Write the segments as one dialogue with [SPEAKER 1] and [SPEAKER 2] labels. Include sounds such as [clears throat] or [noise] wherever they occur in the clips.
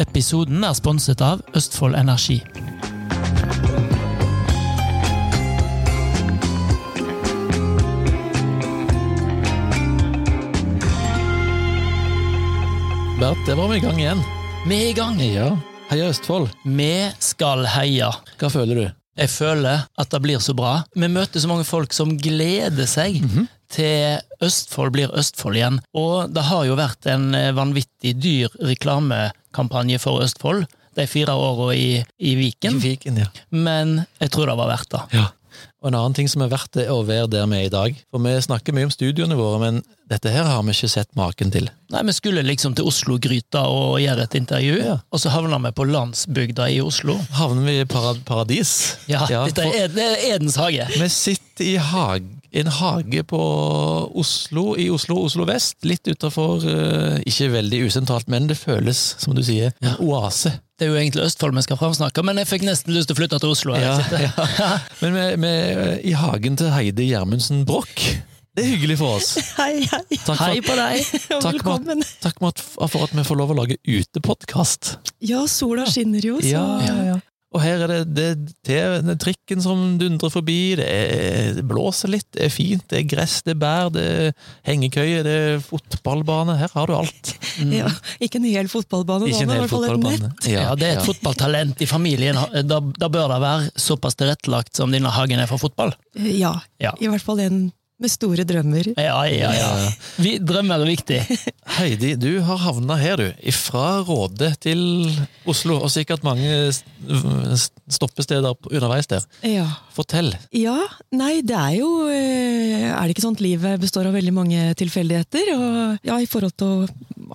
[SPEAKER 1] Episoden er sponset av Østfold Energi.
[SPEAKER 2] Bert, der var vi i gang igjen.
[SPEAKER 1] Vi er i gang!
[SPEAKER 2] Ja. Heia Østfold.
[SPEAKER 1] Vi skal heie.
[SPEAKER 2] Hva føler du?
[SPEAKER 1] Jeg føler at det blir så bra. Vi møter så mange folk som gleder seg til Østfold blir Østfold igjen. Og det har jo vært en eh, vanvittig dyr reklamekampanje for Østfold de fire åra i, i Viken,
[SPEAKER 2] Fiken, ja.
[SPEAKER 1] men jeg tror det var verdt det.
[SPEAKER 2] ja. Og en annen ting som er verdt det, er å være der vi er i dag. For vi snakker mye om studioene våre, men dette her har vi ikke sett maken til.
[SPEAKER 1] Nei, Vi skulle liksom til Oslo-gryta og gjøre et intervju,
[SPEAKER 2] Ja.
[SPEAKER 1] og så havna vi på landsbygda i Oslo.
[SPEAKER 2] Havner vi i para paradis?
[SPEAKER 1] Ja, Dette
[SPEAKER 2] for
[SPEAKER 1] er, det er Edens hage.
[SPEAKER 2] Vi sitter i hag en hage på Oslo, i Oslo, Oslo vest. Litt utafor Ikke veldig usentralt, men det føles, som du sier, en oase.
[SPEAKER 1] Det er jo egentlig Østfold vi skal framsnakke, men jeg fikk nesten lyst til å flytte til Oslo. her jeg
[SPEAKER 2] Ja,
[SPEAKER 1] sitter.
[SPEAKER 2] Men vi, vi er i hagen til Heidi Gjermundsen Broch. Det er hyggelig for oss.
[SPEAKER 3] Hei, hei.
[SPEAKER 2] Takk for,
[SPEAKER 1] Hei på deg!
[SPEAKER 3] Og
[SPEAKER 2] Takk for,
[SPEAKER 3] velkommen.
[SPEAKER 2] at- takk for at- for at vi får lov å lage utepodkast.
[SPEAKER 3] Ja, sola skinner jo, så
[SPEAKER 2] Og her er det, det, det, det er trikken som dundrer forbi, det, er, det blåser litt, det er fint, det er gress, det er bær, det er hengekøye, det er fotballbane. Her har du alt.
[SPEAKER 3] ja, Ikke en hel fotballbane, da, men i hvert fall et nett.
[SPEAKER 1] Ja, Det er et
[SPEAKER 2] ja.
[SPEAKER 1] fotballtalent i familien. Da, da bør det være såpass tilrettelagt som denne hagen er for fotball.
[SPEAKER 3] Eh, Ja,
[SPEAKER 1] Ja.
[SPEAKER 3] i hvert fall en med store drømmer.
[SPEAKER 1] Ja, ja, ja. Vi drømmer er viktig.
[SPEAKER 2] Heidi, du har havna her, du. Fra Råde til Oslo, og sikkert mange s- s- stoppesteder på- underveis der.
[SPEAKER 3] Ja.
[SPEAKER 2] Fortell.
[SPEAKER 3] ja, nei, det er jo eh, Er det ikke sånn at livet består av veldig mange tilfeldigheter? Og ja, i forhold til å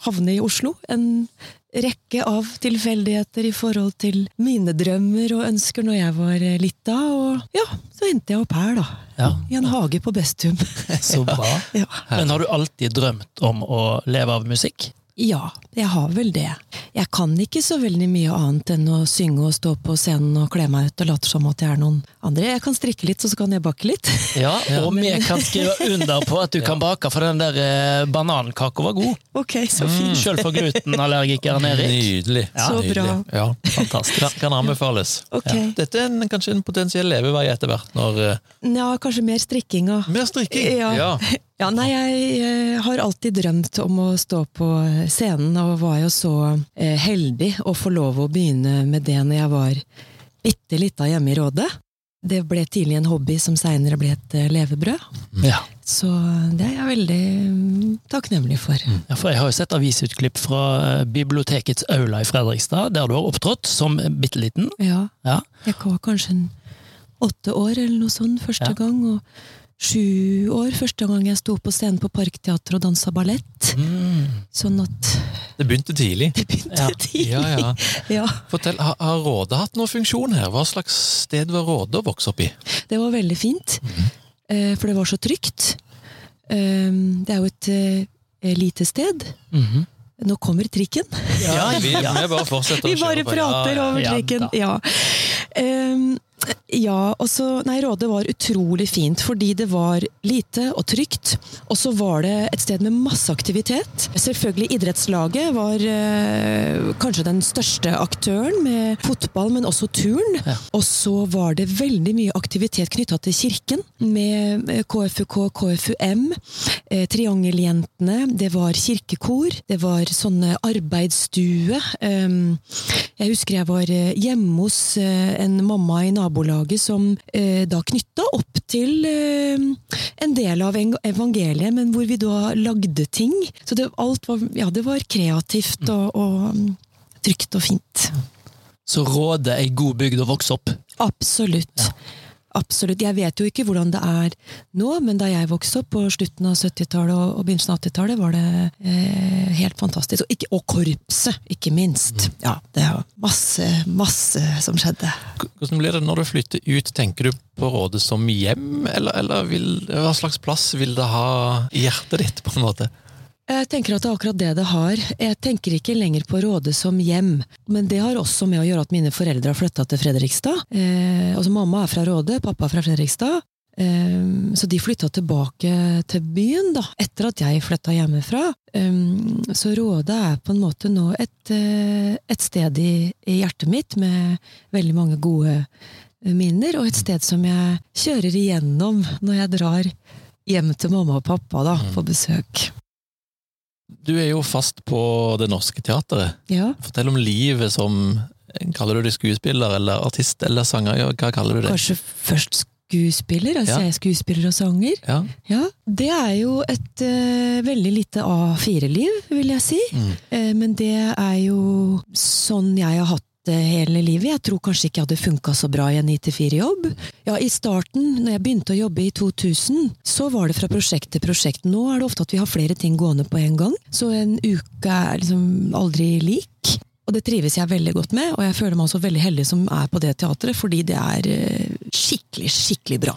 [SPEAKER 3] havne i Oslo, en rekke av tilfeldigheter i forhold til mine drømmer og ønsker når jeg var eh, lita. Og ja, så endte jeg opp her, da.
[SPEAKER 1] Ja,
[SPEAKER 3] I en hage på Bestum.
[SPEAKER 1] Så bra.
[SPEAKER 3] [laughs] ja.
[SPEAKER 1] Men har du alltid drømt om å leve av musikk?
[SPEAKER 3] Ja, jeg har vel det. Jeg kan ikke så veldig mye annet enn å synge og stå på scenen og kle meg ut og late som at jeg er noen andre. Jeg kan strikke litt, og så kan jeg bakke litt. [laughs]
[SPEAKER 1] Ja, Og vi kan skrive under på at du kan bake, for den der eh, banankaka var god.
[SPEAKER 3] Ok, så
[SPEAKER 2] Mm.
[SPEAKER 3] fint.
[SPEAKER 1] Sjøl for
[SPEAKER 2] [laughs]
[SPEAKER 1] glutenallergikeren Erik.
[SPEAKER 2] Nydelig.
[SPEAKER 1] Ja.
[SPEAKER 3] Så
[SPEAKER 2] Nydelig.
[SPEAKER 3] bra.
[SPEAKER 2] Ja.
[SPEAKER 1] Fantastisk.
[SPEAKER 2] Kan, kan anbefales.
[SPEAKER 3] Ok.
[SPEAKER 2] Ja. Dette er en, kanskje en potensiell levevei etter hvert. Når, eh,
[SPEAKER 3] Ja, kanskje mer strikkinga.
[SPEAKER 2] mer strikking!
[SPEAKER 3] Ja. [laughs] Ja, nei, jeg eh, har alltid drømt om å stå på scenen, og var jo så eh, heldig å få lov å begynne med det når jeg var bitte lita hjemme i Råde. Det ble tidlig en hobby som seinere ble et eh, levebrød.
[SPEAKER 1] Ja.
[SPEAKER 3] Så det er jeg veldig mm, takknemlig for.
[SPEAKER 1] Ja, for jeg har jo sett avisutklipp fra eh, bibliotekets aula i Fredrikstad, der du har opptrådt som bitte liten.
[SPEAKER 3] Ja,
[SPEAKER 1] Ja.
[SPEAKER 3] jeg var kanskje en åtte år eller noe sånt første
[SPEAKER 1] Ja.
[SPEAKER 3] gang, og sju år første gang jeg sto på scenen på Parkteatret og dansa ballett. Sånn at
[SPEAKER 2] Det begynte
[SPEAKER 3] [laughs]
[SPEAKER 2] tidlig.
[SPEAKER 3] det begynte
[SPEAKER 1] Mm. Ja.
[SPEAKER 3] tidlig.
[SPEAKER 2] Ja, ja.
[SPEAKER 3] Ja,
[SPEAKER 2] Fortell, har, har Råde hatt noen funksjon her? Hva slags sted var Råde å vokse opp i?
[SPEAKER 3] det var veldig fint,
[SPEAKER 1] Mm.
[SPEAKER 3] eh, for det var så trygt. Um, Det er jo et eh, lite sted.
[SPEAKER 1] Mhm.
[SPEAKER 3] Nå kommer trikken.
[SPEAKER 1] Ja,
[SPEAKER 2] vi, vi bare fortsetter
[SPEAKER 3] [laughs] Vi
[SPEAKER 2] å
[SPEAKER 3] bare
[SPEAKER 2] kjøre på. Ja,
[SPEAKER 3] prater
[SPEAKER 2] ja.
[SPEAKER 3] over
[SPEAKER 1] Ja,
[SPEAKER 3] trikken.
[SPEAKER 1] da.
[SPEAKER 3] Ja. Ehm, ja, altså Nei, Råde var utrolig fint, fordi det var lite og trygt. Og så var det et sted med masse aktivitet. Selvfølgelig idrettslaget var eh, kanskje den største aktøren med fotball, men også turn. Og så var det veldig mye aktivitet knytta til kirken, med eh, KFUK, KFUM, eh, Triangeljentene, det var kirkekor, det var sånne arbeidsstue. ehm, jeg husker jeg var eh, hjemme hos eh, en mamma i nabolaget som eh, da knytta opp til eh, en del av eng- evangeliet, men hvor vi da lagde ting. Så det, alt var, ja, det var kreativt og, og mm, trygt og fint.
[SPEAKER 1] Så Råde ei god bygd å vokse opp.
[SPEAKER 3] Absolutt. Absolutt. Jeg vet jo ikke hvordan det er nå, men da jeg vokste opp på slutten av 70-tallet og, og begynnelsen av 80-tallet, var det eh, helt fantastisk. Og, ikke, og korpset, ikke minst. Ja, det var masse, masse som skjedde.
[SPEAKER 2] Hvordan blir det når du flytter ut? Tenker du på Råde som hjem, eller, eller vil, hva slags plass vil det ha i hjertet ditt? på en måte?
[SPEAKER 3] Jeg tenker at det er akkurat det det har. Jeg tenker ikke lenger på Råde som hjem. Men det har også med å gjøre at mine foreldre har flytta til Fredrikstad. Eh, altså Mamma er fra Råde, pappa er fra Fredrikstad. Ehm, Så de flytta tilbake til byen da, etter at jeg flytta hjemmefra. Ehm, Så Råde er på en måte nå et, eh, et sted i, i hjertet mitt med veldig mange gode minner, og et sted som jeg kjører igjennom når jeg drar hjem til mamma og pappa da, på besøk.
[SPEAKER 2] Du er jo fast på Det Norske Teatret.
[SPEAKER 3] Ja.
[SPEAKER 2] Fortell om livet som Kaller du det skuespiller eller artist eller sanger? Ja, Hva kaller du det?
[SPEAKER 3] Kanskje først skuespiller? Altså
[SPEAKER 2] Ja.
[SPEAKER 3] jeg er skuespiller og sanger.
[SPEAKER 2] Ja.
[SPEAKER 3] Ja, Det er jo et eh, veldig lite A4-liv, vil jeg si.
[SPEAKER 2] Mm.
[SPEAKER 3] Eh, men det er jo sånn jeg har hatt det hele livet. Jeg tror kanskje ikke jeg hadde funka så bra i en 9-4-jobb. Ja, I starten, når jeg begynte å jobbe i 2000, så var det fra prosjekt til prosjekt. Nå er det ofte at vi har flere ting gående på en gang, så en uke er liksom aldri lik. Og det trives jeg veldig godt med, og jeg føler meg også veldig heldig som er på det teatret, fordi det er eh, skikkelig, skikkelig bra.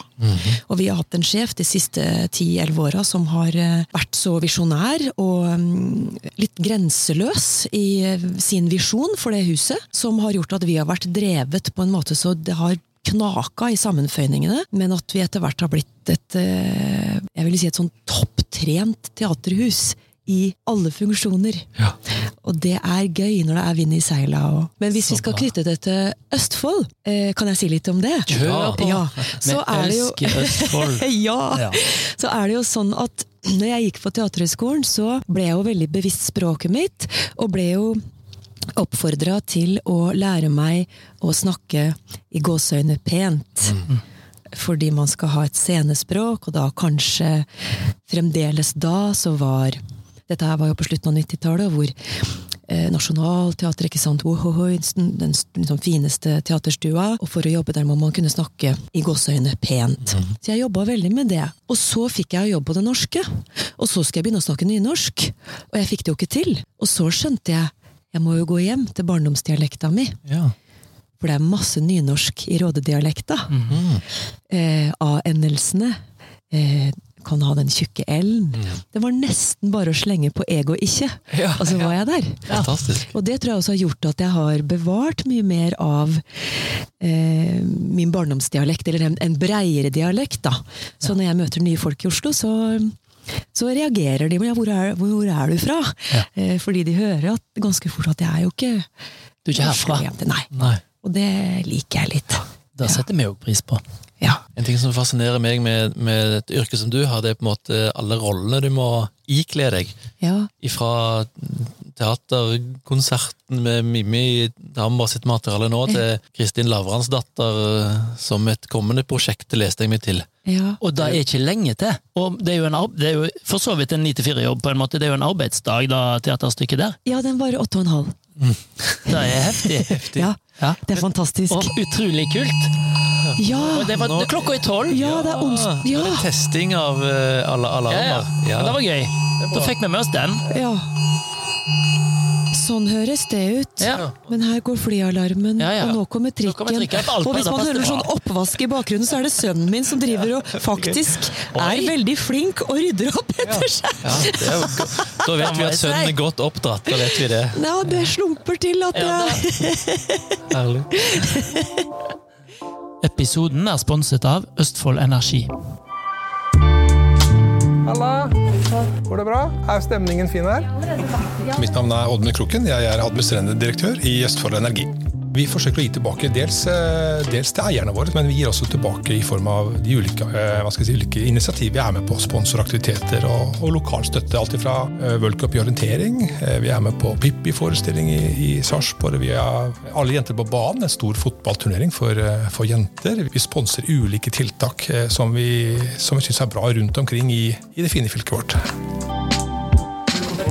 [SPEAKER 3] Og vi har hatt en sjef de siste 10-11 åra som har eh, vært så visjonær og mm, litt grenseløs i eh, sin visjon for det huset, som har gjort at vi har vært drevet på en måte så det har knaka i sammenføyningene, men at vi etter hvert har blitt et eh, jeg vil si et sånn topptrent teaterhus i alle funksjoner.
[SPEAKER 2] Ja.
[SPEAKER 3] Og det er gøy når det er vind i seila. og- Men hvis
[SPEAKER 1] Så
[SPEAKER 3] vi skal
[SPEAKER 1] bra.
[SPEAKER 3] knytte det til Østfold, eh, kan jeg si litt om det?
[SPEAKER 1] Kjør på! [laughs]
[SPEAKER 3] Ja, så
[SPEAKER 1] Vi
[SPEAKER 3] er det jo
[SPEAKER 1] elsker Østfold.
[SPEAKER 3] [laughs] ja.
[SPEAKER 1] Ja.
[SPEAKER 3] Så er det jo sånn at når jeg gikk på Teaterhøgskolen, så ble jeg jo veldig bevisst språket mitt, og ble jo oppfordra til å lære meg å snakke i gåseøyne pent. Fordi man skal ha et scenespråk, og da kanskje fremdeles da så var Dette her var jo på slutten av 90-tallet, hvor eh, Nationaltheatret, ikke sant, Ohohoi, den, den liksom fineste teaterstua. Og for å jobbe der må man kunne snakke i gåseøyne pent. Så jeg jobba veldig med det. Og så fikk jeg jobb på det norske. Og så skal jeg begynne å snakke nynorsk. Og jeg fikk det jo ikke til. Og så skjønte jeg jeg må jo gå hjem til barndomsdialekta mi.
[SPEAKER 2] Ja.
[SPEAKER 3] For det er masse nynorsk i rådedialekta.
[SPEAKER 1] Mhm.
[SPEAKER 3] eh, A-endelsene. Eh, kan ha den tjukke L-en.
[SPEAKER 1] Mm.
[SPEAKER 3] Det var nesten bare å slenge på ego ikke,
[SPEAKER 2] Ja,
[SPEAKER 3] og så var jeg der.
[SPEAKER 2] Fantastisk.
[SPEAKER 3] Og det tror jeg også har gjort at jeg har bevart mye mer av eh, min barndomsdialekt, eller en, en breiere dialekt, da. Så når jeg møter nye folk i Oslo, så, så reagerer de med ja, hvor, er, 'hvor er du fra?' Eh, fordi de hører at, ganske fort at jeg er jo ikke
[SPEAKER 1] Du er ikke herfra.
[SPEAKER 3] Oslo-jente, Nei.
[SPEAKER 2] Nei.
[SPEAKER 3] Og det liker jeg litt.
[SPEAKER 1] Det setter vi òg pris på.
[SPEAKER 3] Ja.
[SPEAKER 2] En ting som fascinerer meg med, med et yrke som du har, det er på en måte alle rollene du må ikle deg.
[SPEAKER 3] ja.
[SPEAKER 2] Fra teaterkonserten med Mimmi Damber sitt materiale nå, til Kristin Lavrans datter eh, som et kommende prosjekt, det leste jeg meg til.
[SPEAKER 3] Ja.
[SPEAKER 1] Og det er ikke lenge til. Og det er jo, en, arb- det er jo for så vidt en 9-4-jobb, på en måte. Det er jo en arbeidsdag, da, teaterstykket der.
[SPEAKER 3] ja, den varer åtte og en halv.
[SPEAKER 1] Det er [laughs] heftig.
[SPEAKER 3] Ja,
[SPEAKER 1] Ja.
[SPEAKER 3] det er fantastisk.
[SPEAKER 1] Og utrolig kult.
[SPEAKER 3] Ja!
[SPEAKER 1] Og det var,
[SPEAKER 2] Nå-
[SPEAKER 1] klokka er tolv!
[SPEAKER 3] Ja, det er ons...
[SPEAKER 2] Ah,
[SPEAKER 3] Ja!
[SPEAKER 2] det er testing av eh, alle
[SPEAKER 1] Ja, ja.
[SPEAKER 2] alarmer.
[SPEAKER 1] Ja, Det var gøy. Da fikk vi med oss den.
[SPEAKER 3] ja. Sånn høres det ut.
[SPEAKER 1] Ja.
[SPEAKER 3] Men her går flyalarmen,
[SPEAKER 1] Ja, ja.
[SPEAKER 3] og nå kommer
[SPEAKER 1] Nå
[SPEAKER 3] trikken.
[SPEAKER 1] kommer trikken. Alt
[SPEAKER 3] og
[SPEAKER 1] på-
[SPEAKER 3] hvis
[SPEAKER 1] da
[SPEAKER 3] man
[SPEAKER 1] passer
[SPEAKER 3] hører
[SPEAKER 1] det
[SPEAKER 3] sånn oppvask i bakgrunnen, så er det sønnen min som driver og faktisk er veldig flink og rydder opp etter seg.
[SPEAKER 2] Ja, det er jo go- da vet vi at sønnen er godt oppdratt. Da vet vi det.
[SPEAKER 3] Ja, det slumper til at det
[SPEAKER 1] Ja,
[SPEAKER 3] er
[SPEAKER 2] Herlig.
[SPEAKER 1] Episoden er sponset av Østfold Energi.
[SPEAKER 4] Halla! Går det bra? Er stemningen fin her?
[SPEAKER 5] Mitt navn er Oddmund Kroken. Jeg er administrerende direktør i Østfold Energi. Vi forsøker å gi tilbake dels, eh, dels til eierne våre, men vi gir også tilbake i form av de ulike, eh, hva skal jeg si, ulike initiativ vi er med på. Sponsoraktiviteter og, og lokal støtte. Alt ifra eh, World Cup i orientering, eh, vi er med på Pippi-forestilling i, i Sarpsborg, vi har Alle jenter på banen, en stor fotballturnering for, eh, for jenter. Vi sponser ulike tiltak eh, som vi, som vi syns er bra rundt omkring i, i det fine fylket vårt.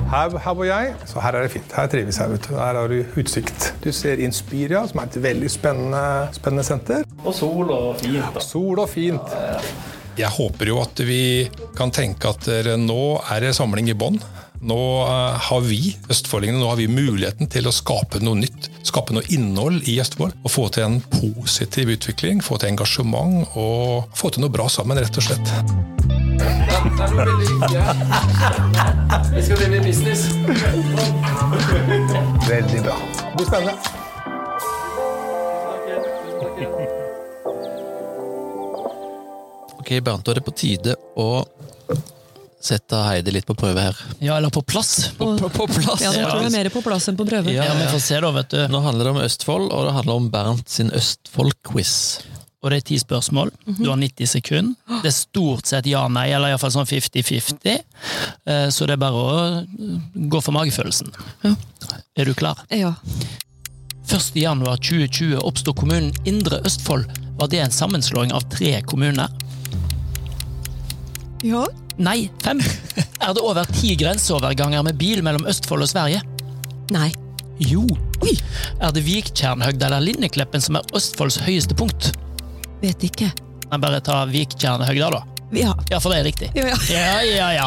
[SPEAKER 4] Her, her bor jeg, så her er det fint. Her trives jeg. vet du. Her har du utsikt. Du ser Inspiria, som er et veldig spennende, spennende senter. Og sol og fint. Sol og fint.
[SPEAKER 5] Eh. Jeg håper jo at vi kan tenke at dere, nå er det samling i bånn. Nå eh, har vi østfoldingene, nå har vi muligheten til å skape noe nytt. Skape noe innhold i Østfold. Og få til en positiv utvikling, få til engasjement og få til noe bra sammen, rett og slett.
[SPEAKER 4] Veldig bra. Det blir spennende.
[SPEAKER 2] Ok, Ok, Bernt, da er det på tide å sette Heidi litt på prøve her.
[SPEAKER 1] Ja, eller på plass.
[SPEAKER 2] På, på, på plass!
[SPEAKER 3] Ja, nå tror jeg mer på plass enn på prøve.
[SPEAKER 1] Ja,
[SPEAKER 2] Ja,
[SPEAKER 1] vi
[SPEAKER 2] ja.
[SPEAKER 1] får se da, vet du.
[SPEAKER 2] Nå handler det om Østfold, og det handler om Bernt sin Østfold-quiz.
[SPEAKER 1] Og det er ti spørsmål.
[SPEAKER 3] Mhm.
[SPEAKER 1] Du har 90 sekunder. Det er stort sett ja-nei, eller iallfall sånn 50-50. Eh, Så det er bare å eh, gå for magefølelsen.
[SPEAKER 3] Ja.
[SPEAKER 1] Er du klar?
[SPEAKER 3] Ja.
[SPEAKER 1] 1. januar 2020 oppsto kommunen Indre Østfold. Var det en sammenslåing av tre kommuner?
[SPEAKER 3] ja.
[SPEAKER 1] Nei, fem! Er det over ti grenseoverganger med bil mellom Østfold og Sverige?
[SPEAKER 3] Nei.
[SPEAKER 1] Jo.
[SPEAKER 3] Oi!
[SPEAKER 1] Er det Viktjernhøgda eller Linnekleppen som er Østfolds høyeste punkt?
[SPEAKER 3] Vet ikke.
[SPEAKER 1] Nei, bare ta Viktjernhøgda, da.
[SPEAKER 3] Ja.
[SPEAKER 1] Ja, for det er riktig.
[SPEAKER 3] Ja, ja.
[SPEAKER 1] Ja, ja, ja.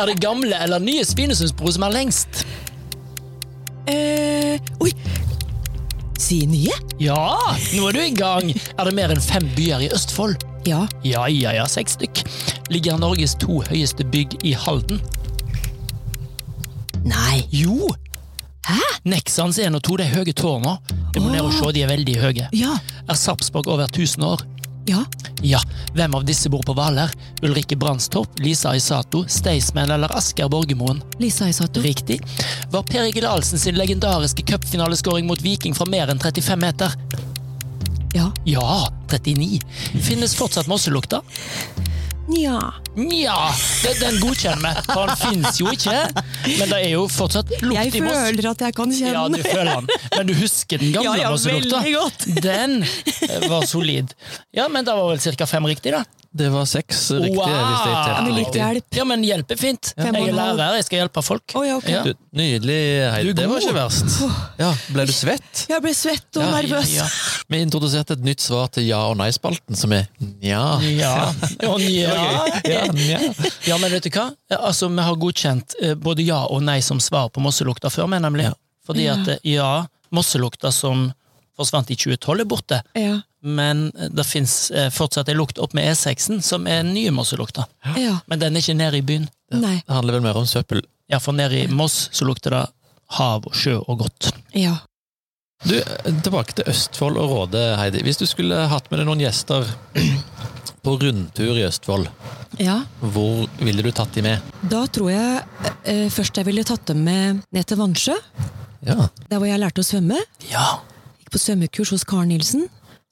[SPEAKER 1] Er det gamle eller nye Svinesundsbro som er lengst?
[SPEAKER 3] Eh, oi! Si nye?
[SPEAKER 1] Ja, nå er du i gang. Er det mer enn fem byer i Østfold?
[SPEAKER 3] Ja.
[SPEAKER 1] Ja, ja, ja, seks stykk. Ligger Norges to høyeste bygg i Halden?
[SPEAKER 3] Nei.
[SPEAKER 1] Jo!
[SPEAKER 3] Hæ?
[SPEAKER 1] Nexans 1 og 2 det er høye tårner. Du må ned og se, de er veldig høye.
[SPEAKER 3] Ja.
[SPEAKER 1] Er Sarpsborg over 1000 år?
[SPEAKER 3] Ja.
[SPEAKER 1] Ja. Hvem av disse bor på Hvaler? Ulrikke Brandstorp, Lisa Isato, Staysman eller Asker Borgermoen?
[SPEAKER 3] Lisa Isato.
[SPEAKER 1] Riktig. Var Per Egil Ahlsen sin legendariske cupfinaleskåring mot Viking fra mer enn 35 meter?
[SPEAKER 3] Ja.
[SPEAKER 1] Ja, 39. Finnes fortsatt mosselukta?
[SPEAKER 3] Nja.
[SPEAKER 1] Nja, den, den godkjenner vi, for den fins jo ikke. Men det er jo fortsatt
[SPEAKER 3] Jeg
[SPEAKER 1] lukt i moss.
[SPEAKER 3] føler at jeg kan kjenne
[SPEAKER 1] Ja, du føler den, men du husker den gamle
[SPEAKER 3] Ja, ja,
[SPEAKER 1] mosselukta?
[SPEAKER 3] veldig godt.
[SPEAKER 1] Den eh, var solid. Ja, men det var vel ca. fem riktig, da.
[SPEAKER 2] Det var seks riktige. hvis jeg
[SPEAKER 1] Wow.
[SPEAKER 2] telte
[SPEAKER 3] Med litt
[SPEAKER 2] riktig.
[SPEAKER 3] hjelp.
[SPEAKER 1] Ja, men hjelp er fint.
[SPEAKER 3] Fem og
[SPEAKER 1] Jeg er
[SPEAKER 3] en halv.
[SPEAKER 1] lærer, jeg skal hjelpe folk.
[SPEAKER 3] Å ja, ok.
[SPEAKER 1] Ja.
[SPEAKER 2] Du, nydelig, Heidi.
[SPEAKER 1] Du er
[SPEAKER 2] Det var
[SPEAKER 1] god.
[SPEAKER 2] ikke verst. Ja, ble du svett?
[SPEAKER 3] Jeg ble svett og
[SPEAKER 1] Ja,
[SPEAKER 3] nervøs.
[SPEAKER 1] Ja,
[SPEAKER 2] Vi introduserte et nytt svar til ja- og nei-spalten, som er nja.
[SPEAKER 1] ja. Ja.
[SPEAKER 2] Ja,
[SPEAKER 1] Ja.
[SPEAKER 2] nja.
[SPEAKER 1] ja, men vet du hva? Eh, Altså, Vi har godkjent eh, både ja og nei som svar på mosselukta før, men nemlig.
[SPEAKER 2] Ja.
[SPEAKER 1] Fordi at eh, ja, mosselukta som forsvant i 2012 er borte,
[SPEAKER 3] Ja.
[SPEAKER 1] men eh, det fins eh, fortsatt ei lukt opp med E6-en som er den nye mosselukta.
[SPEAKER 3] ja.
[SPEAKER 1] Men den er ikke nede i byen.
[SPEAKER 3] Nei.
[SPEAKER 2] Det handler vel mer om søppel.
[SPEAKER 1] Ja, for nede i Moss så lukter det hav og sjø og godt.
[SPEAKER 3] Ja.
[SPEAKER 2] Du, eh, Tilbake til Østfold og Råde, Heidi. Hvis du skulle hatt med deg noen gjester [clears throat] på rundtur i Østfold,
[SPEAKER 3] ja.
[SPEAKER 2] hvor ville du tatt de med?
[SPEAKER 3] Da tror jeg eh, først jeg ville tatt dem med ned til Vannsjø,
[SPEAKER 2] Ja,
[SPEAKER 3] der hvor jeg lærte å svømme.
[SPEAKER 1] Ja.
[SPEAKER 3] Gikk på svømmekurs hos Karen Nilsen,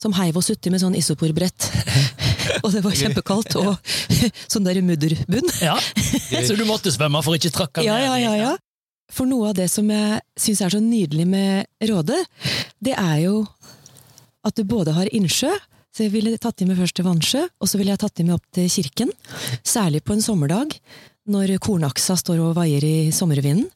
[SPEAKER 3] som heiv oss uti med sånn isoporbrett. [laughs] og det var kjempekaldt, og [laughs] sånn der mudderbunn.
[SPEAKER 1] Så du måtte svømme for ikke trakka
[SPEAKER 3] Ja,
[SPEAKER 1] ned
[SPEAKER 3] ja,
[SPEAKER 1] i-
[SPEAKER 3] ja, ja. For noe av det som jeg syns er så nydelig med Råde, det er jo at du både har innsjø, så jeg ville tatt de med først til Vannsjø, og så ville jeg tatt de med opp til kirken. Særlig på en sommerdag, når kornaksa står og vaier i sommervinden.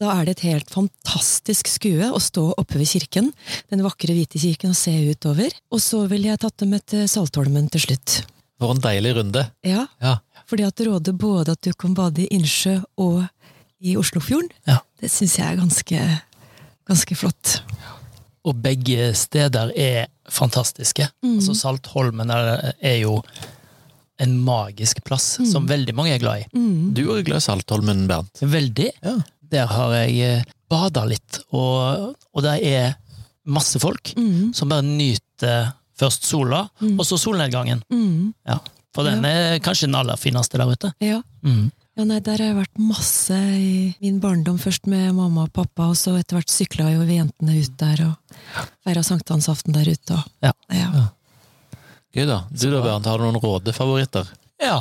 [SPEAKER 3] Da er det et helt fantastisk skue å stå oppe ved kirken, den vakre hvite kirken, og se utover. Og så ville jeg tatt dem med til Saltholmen til slutt.
[SPEAKER 2] For en deilig runde.
[SPEAKER 3] Ja,
[SPEAKER 2] Ja.
[SPEAKER 3] fordi at det råder både at du kan bade i innsjø og i Oslofjorden.
[SPEAKER 1] Ja.
[SPEAKER 3] Det syns jeg er ganske, ganske flott.
[SPEAKER 1] Og begge steder er fantastiske.
[SPEAKER 3] Mm.
[SPEAKER 1] Altså Saltholmen er, er jo en magisk plass
[SPEAKER 3] Mm.
[SPEAKER 1] som veldig mange er glad i.
[SPEAKER 2] Du er glad i Saltholmen, Bernt.
[SPEAKER 1] Veldig.
[SPEAKER 2] Ja.
[SPEAKER 1] Der har jeg bada litt, og, og det er masse folk
[SPEAKER 3] Mm.
[SPEAKER 1] som bare nyter først sola, og så solnedgangen.
[SPEAKER 3] Mm,
[SPEAKER 1] Ja. For den er kanskje den aller fineste der ute.
[SPEAKER 3] ja.
[SPEAKER 1] Mm.
[SPEAKER 3] ja, nei, der har jeg vært masse i min barndom. Først med mamma og pappa, og så etter hvert sykla jo vi jentene ut der og feira sankthansaften der ute. Og,
[SPEAKER 1] Ja.
[SPEAKER 3] ja.
[SPEAKER 2] Gøy da. Du da, Bernt, har du noen Råde-favoritter?
[SPEAKER 1] Ja.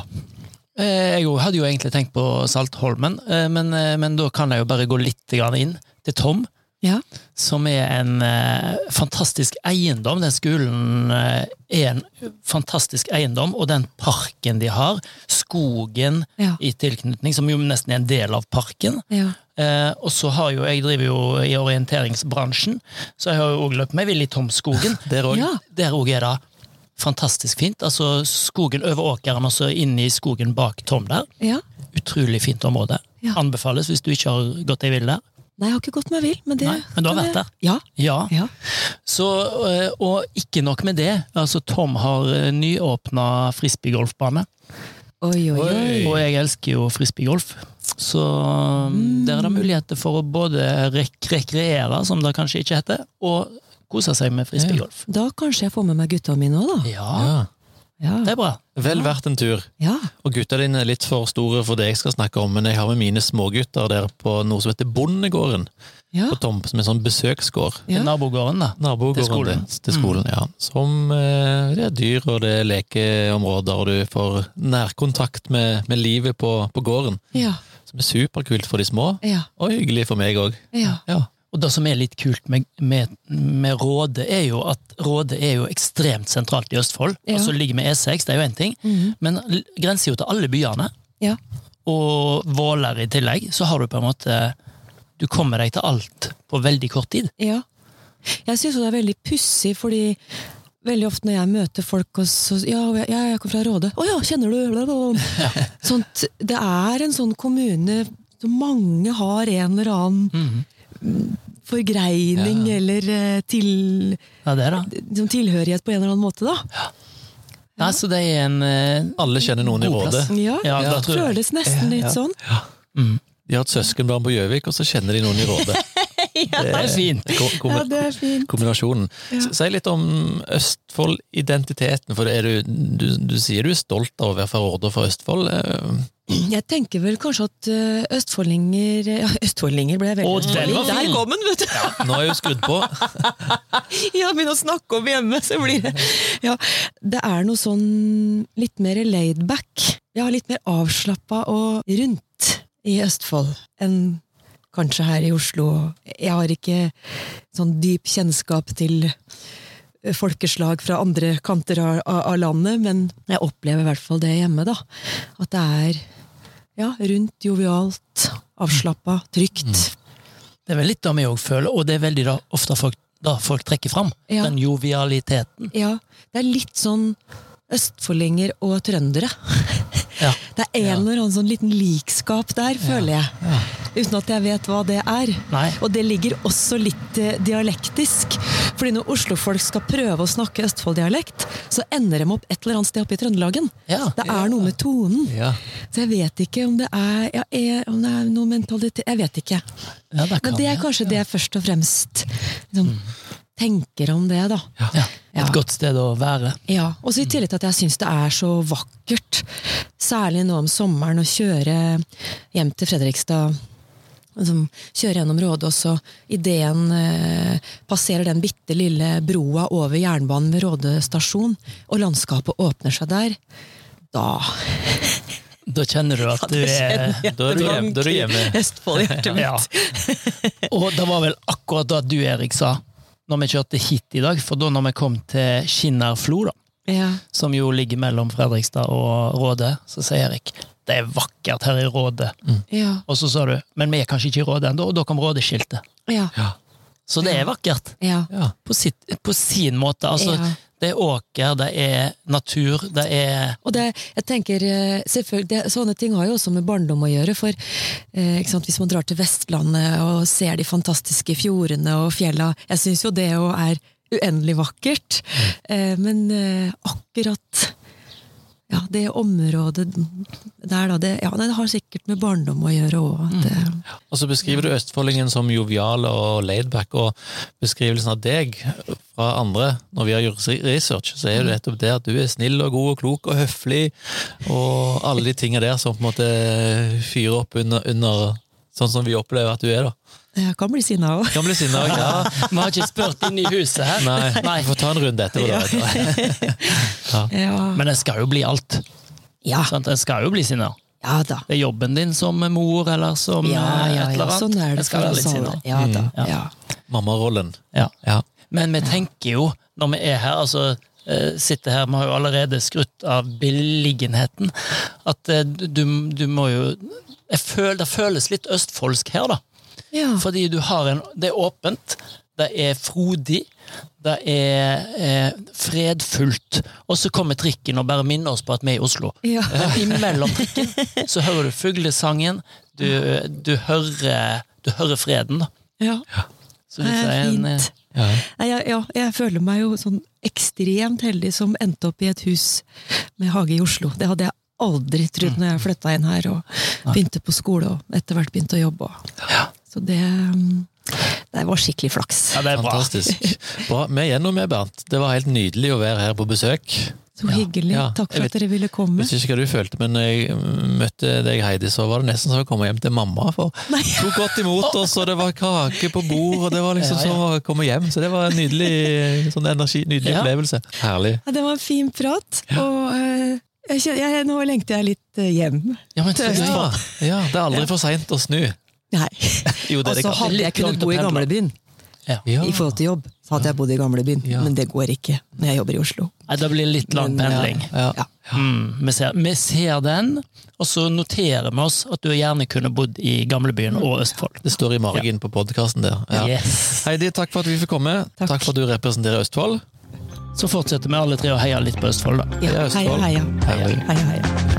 [SPEAKER 1] Eh, Jeg jo- hadde jo egentlig tenkt på Saltholmen, eh, men, eh, men da kan jeg jo bare gå litt grann inn til Tom,
[SPEAKER 3] Ja.
[SPEAKER 1] som er en eh, fantastisk eiendom. Den skolen eh, er en fantastisk eiendom, og den parken de har, skogen
[SPEAKER 3] Ja.
[SPEAKER 1] i tilknytning, som jo nesten er en del av parken.
[SPEAKER 3] Ja.
[SPEAKER 1] Eh, og så har jo, jeg driver jo i orienteringsbransjen, så jeg har jo òg løpt meg vill i Tomskogen.
[SPEAKER 3] [laughs]
[SPEAKER 2] Der òg?
[SPEAKER 3] Ja.
[SPEAKER 1] Der òg er det fantastisk fint. Altså skogen over åkeren og så inn i skogen bak Tom der.
[SPEAKER 3] ja.
[SPEAKER 1] Utrolig fint område.
[SPEAKER 3] Ja.
[SPEAKER 1] Anbefales hvis du ikke har gått deg vill der.
[SPEAKER 3] Nei, jeg har ikke gått meg vill, men det
[SPEAKER 1] Nei, men du har vært der?
[SPEAKER 3] Ja.
[SPEAKER 1] Ja.
[SPEAKER 3] ja.
[SPEAKER 1] Så, eh, og ikke nok med det. Altså Tom har eh, nyåpna frisbeegolfbane.
[SPEAKER 3] Oi, oi, oi.
[SPEAKER 1] Og jeg elsker jo frisbeegolf. Så um,
[SPEAKER 3] Mm.
[SPEAKER 1] der er det muligheter for å både rek rekreere, som det kanskje ikke heter, og kose seg med frisbeegolf.
[SPEAKER 3] Da kanskje jeg får med meg gutta mine òg, da.
[SPEAKER 1] Ja.
[SPEAKER 3] Ja.
[SPEAKER 1] Det er bra.
[SPEAKER 2] Vel verdt en tur.
[SPEAKER 3] ja.
[SPEAKER 2] Og gutta dine er litt for store for det jeg skal snakke om, men jeg har med mine smågutter der på noe som heter Bondegården,
[SPEAKER 3] ja.
[SPEAKER 2] på Tom, som er en sånn besøksgård.
[SPEAKER 1] I
[SPEAKER 3] Ja.
[SPEAKER 1] nabogården, da.
[SPEAKER 2] Nabogården
[SPEAKER 1] Til skolen. Mm.
[SPEAKER 2] Til, til skolen, ja. Som eh, det er dyr, og det er lekeområder, og du får nærkontakt med, med livet på, på gården.
[SPEAKER 3] Ja.
[SPEAKER 2] Som er superkult for de små,
[SPEAKER 3] Ja.
[SPEAKER 2] og hyggelig for meg òg.
[SPEAKER 3] Ja.
[SPEAKER 2] Ja.
[SPEAKER 1] Og det som er litt kult med, med, med Råde, er jo at Råde er jo ekstremt sentralt i Østfold.
[SPEAKER 3] Ja.
[SPEAKER 1] Altså ligger med E6, det er jo én ting,
[SPEAKER 3] Mm.
[SPEAKER 1] men l- grenser jo til alle byene.
[SPEAKER 3] Ja.
[SPEAKER 1] Og Våler i tillegg, så har du på en måte Du kommer deg til alt på veldig kort tid.
[SPEAKER 3] Ja. Jeg syns det er veldig pussig, fordi veldig ofte når jeg møter folk og så, ja, og jeg- ja, jeg kommer fra Råde. Å ja, kjenner du bla, bla, bla.
[SPEAKER 1] [laughs]
[SPEAKER 3] Sånt, Det er en sånn kommune som mange har en eller annen
[SPEAKER 1] Mhm.
[SPEAKER 3] forgreining eller eh, til,
[SPEAKER 1] Ja, det er det.
[SPEAKER 3] som tilhørighet på en eller annen måte, da.
[SPEAKER 1] Nei, så det er en eh,
[SPEAKER 2] Alle kjenner noen i
[SPEAKER 1] God
[SPEAKER 2] Råde.
[SPEAKER 1] plass.
[SPEAKER 3] Ja,
[SPEAKER 1] Ja, det
[SPEAKER 3] det
[SPEAKER 1] tror jeg.
[SPEAKER 3] føles nesten litt
[SPEAKER 1] [laughs]
[SPEAKER 3] sånn.
[SPEAKER 2] De har et søskenbarn på Gjøvik, og så kjenner de noen i Råde.
[SPEAKER 1] [laughs]
[SPEAKER 3] [laughs]
[SPEAKER 1] Det er fint.
[SPEAKER 2] Ko- kom-
[SPEAKER 3] Ja, det er fint.
[SPEAKER 2] kombinasjonen. S- Si litt om Østfold-identiteten, for er du, du, du sier du er stolt av å være fra Råde og fra Østfold. eh,
[SPEAKER 3] Jeg tenker vel kanskje at eh, østfoldinger ja, Østfoldinger ble jeg veldig
[SPEAKER 1] Å, den var
[SPEAKER 3] Der
[SPEAKER 1] fin.
[SPEAKER 3] kom den, vet du!
[SPEAKER 2] Nå er jeg jo skrudd på.
[SPEAKER 3] [laughs] Ja, begynne å snakke om hjemme, så blir det Ja, det er noe sånn litt mer laid back. Ja, litt mer avslappa og rundt i Østfold enn kanskje her i Oslo. Jeg har ikke sånn dyp kjennskap til folkeslag fra andre kanter av, av av landet, men jeg opplever i hvert fall det hjemme, da. At det er ja, rundt, jovialt, avslappa, trygt.
[SPEAKER 1] Det er vel litt det vi òg føler, og det er veldig da, ofte folk, da folk trekker fram.
[SPEAKER 3] Ja.
[SPEAKER 1] Den jovialiteten.
[SPEAKER 3] Ja, det er litt sånn østfoldinger og trøndere.
[SPEAKER 1] Ja.
[SPEAKER 3] [laughs] Det er en eller annen sånn liten likskap der, føler jeg. Uten at jeg vet hva det er.
[SPEAKER 1] Nei.
[SPEAKER 3] Og det ligger også litt eh, dialektisk. Fordi når oslofolk skal prøve å snakke østfolddialekt, så ender de opp et eller annet sted oppe i Trøndelagen.
[SPEAKER 1] Ja.
[SPEAKER 3] Det er noe med tonen.
[SPEAKER 2] Ja.
[SPEAKER 3] Så jeg vet ikke om det er, ja, er, om det er noe mentalitet Jeg vet ikke.
[SPEAKER 1] Ja, det
[SPEAKER 3] Men
[SPEAKER 1] kan
[SPEAKER 3] det er
[SPEAKER 1] jeg.
[SPEAKER 3] kanskje det jeg først og fremst liksom, tenker om det, da.
[SPEAKER 1] ja. Et
[SPEAKER 3] Ja.
[SPEAKER 1] godt sted å være.
[SPEAKER 3] Ja, og så I tillegg til at jeg syns det er så vakkert, særlig nå om sommeren, å kjøre hjem til Fredrikstad. Liksom, kjøre gjennom Rådås, og ideen eh, passerer den bitte lille broa over jernbanen ved Råde stasjon, og landskapet åpner seg der. Da
[SPEAKER 1] Da kjenner du at du er
[SPEAKER 2] Da er du hjem- da er du hjemme.
[SPEAKER 3] Østfold-hjertet mitt.
[SPEAKER 1] Ja. Og det var vel akkurat det du, Erik, sa når vi kjørte hit i dag. For da når vi kom til Skinnarflo, da,
[SPEAKER 3] Ja.
[SPEAKER 1] som jo ligger mellom Fredrikstad og Råde, så sier Erik det er vakkert her i Råde.
[SPEAKER 3] Ja.
[SPEAKER 1] Og så sa du men vi er kanskje ikke i Råde ennå, og da kom Rådeskiltet.
[SPEAKER 3] Ja.
[SPEAKER 1] Så det er vakkert.
[SPEAKER 3] ja.
[SPEAKER 2] Ja.
[SPEAKER 1] På, sitt, på sin måte. Altså,
[SPEAKER 3] Ja.
[SPEAKER 1] det er åker, det er natur, det er
[SPEAKER 3] Og det, jeg tenker, eh, selvfølgelig, det, Sånne ting har jo også med barndom å gjøre. for eh, ikke sant, Hvis man drar til Vestlandet og ser de fantastiske fjordene og fjella Jeg syns jo det jo er uendelig vakkert. Eh, men eh, akkurat ja, det området der, da det, ja, nei, det har sikkert med barndom å gjøre òg.
[SPEAKER 1] Mm.
[SPEAKER 2] Og så beskriver du østfoldingen som jovial og laidback, og beskrivelsen av deg fra andre når vi har gjort research, så er det nettopp det at du er snill og god og klok og høflig, og alle de tinga der som på en måte fyrer opp under, under sånn som vi opplever at du er, da.
[SPEAKER 3] Jeg kan bli sinna òg.
[SPEAKER 2] Kan bli sinna, [laughs] ja.
[SPEAKER 1] Vi har ikke spurt inn i huset her.
[SPEAKER 2] Nei,
[SPEAKER 1] Nei.
[SPEAKER 2] vi får ta en runde etterpå. Da, vet du.
[SPEAKER 3] Ja.
[SPEAKER 1] Men sånn en skal jo bli alt.
[SPEAKER 3] Ja,
[SPEAKER 1] Sant? En skal jo bli sinna.
[SPEAKER 3] ja da.
[SPEAKER 1] Det er jobben din som mor, eller som
[SPEAKER 3] Ja,
[SPEAKER 1] eh,
[SPEAKER 3] ja,
[SPEAKER 1] et eller
[SPEAKER 3] ja,
[SPEAKER 1] annet.
[SPEAKER 3] sånn er
[SPEAKER 1] Jeg
[SPEAKER 3] det
[SPEAKER 1] skal
[SPEAKER 3] for
[SPEAKER 1] være
[SPEAKER 3] oss
[SPEAKER 1] litt
[SPEAKER 3] alle.
[SPEAKER 1] sinna.
[SPEAKER 3] Ja da.
[SPEAKER 1] Mm. ja.
[SPEAKER 3] Ja.
[SPEAKER 2] Mammarollen.
[SPEAKER 1] Ja.
[SPEAKER 2] Ja.
[SPEAKER 1] Men vi tenker jo, når vi er her, altså eh, sitter her, vi har jo allerede skrutt av beliggenheten, at eh, du, du må jo jeg føl, Det føles litt østfoldsk her, da.
[SPEAKER 3] Ja.
[SPEAKER 1] Fordi du har en Det er åpent, det er frodig, det er eh, fredfullt. Og så kommer trikken og bare minner oss på at vi er i Oslo.
[SPEAKER 3] Ja.
[SPEAKER 1] Men [laughs] imellom trikken så hører du fuglesangen, du, du, hører, du hører freden, da.
[SPEAKER 3] Ja.
[SPEAKER 1] Så
[SPEAKER 3] Det
[SPEAKER 1] dette
[SPEAKER 3] er
[SPEAKER 1] en, eh,
[SPEAKER 3] fint. Nei, jeg, ja, jeg føler meg jo sånn ekstremt heldig som endte opp i et hus med hage i Oslo. Det hadde jeg aldri trodd når
[SPEAKER 2] Mm.
[SPEAKER 3] jeg flytta inn her og begynte på skole og etter hvert begynte å jobbe. og- Så det, mm, det var skikkelig flaks.
[SPEAKER 1] Ja, det er bra.
[SPEAKER 2] Fantastisk. Bra. Vi er gjennom, vi, Bernt. Det var helt nydelig å være her på besøk.
[SPEAKER 3] Så hyggelig.
[SPEAKER 2] ja.
[SPEAKER 3] Takk
[SPEAKER 2] Jeg
[SPEAKER 3] for
[SPEAKER 2] vet-
[SPEAKER 3] at dere ville komme.
[SPEAKER 2] Jeg vet ikke hva du følte, men når jeg møtte deg, Heidi, så var det nesten som å komme hjem til mamma. For
[SPEAKER 3] Nei.
[SPEAKER 2] hun tok godt imot oss, og det var kake på bord, og det var liksom
[SPEAKER 1] Ja, ja.
[SPEAKER 2] som å komme hjem. Så det var en nydelig, sånn energi, nydelig
[SPEAKER 1] Ja.
[SPEAKER 2] opplevelse. Herlig.
[SPEAKER 3] Ja, det var en fin prat. Og eh, jeg, kjen- jeg, nå lengter jeg litt eh, hjem.
[SPEAKER 1] Ja, men,
[SPEAKER 3] Tøft.
[SPEAKER 1] ja.
[SPEAKER 2] Ja, ja det er aldri for seint å snu.
[SPEAKER 6] Nei.
[SPEAKER 2] Jo, det
[SPEAKER 6] Altså,
[SPEAKER 2] er det kan.
[SPEAKER 6] hadde jeg
[SPEAKER 1] Litt langt
[SPEAKER 6] kunnet bo
[SPEAKER 1] å
[SPEAKER 6] i
[SPEAKER 1] pendle.
[SPEAKER 6] gamlebyen
[SPEAKER 2] Ja.
[SPEAKER 6] i forhold til jobb, så hadde jeg bodd i gamlebyen.
[SPEAKER 2] Ja.
[SPEAKER 6] Men det går ikke når jeg jobber i Oslo.
[SPEAKER 1] Nei, det blir litt lang
[SPEAKER 6] Men, ja.
[SPEAKER 1] pendling.
[SPEAKER 2] Ja.
[SPEAKER 6] Ja.
[SPEAKER 1] Mm, vi, ser, vi ser den, og så noterer vi oss at du gjerne kunne bodd i gamlebyen og Østfold.
[SPEAKER 2] Det står i margen på podkasten der. Ja.
[SPEAKER 1] Yes.
[SPEAKER 2] Heidi, takk for at vi fikk komme. Takk, for at du representerer Østfold.
[SPEAKER 1] Så fortsetter vi alle tre å heie litt på Østfold, da.
[SPEAKER 2] Det er
[SPEAKER 3] Ja, heia,
[SPEAKER 2] Østfold.
[SPEAKER 3] heia.
[SPEAKER 2] Herlig.
[SPEAKER 3] heia, heia.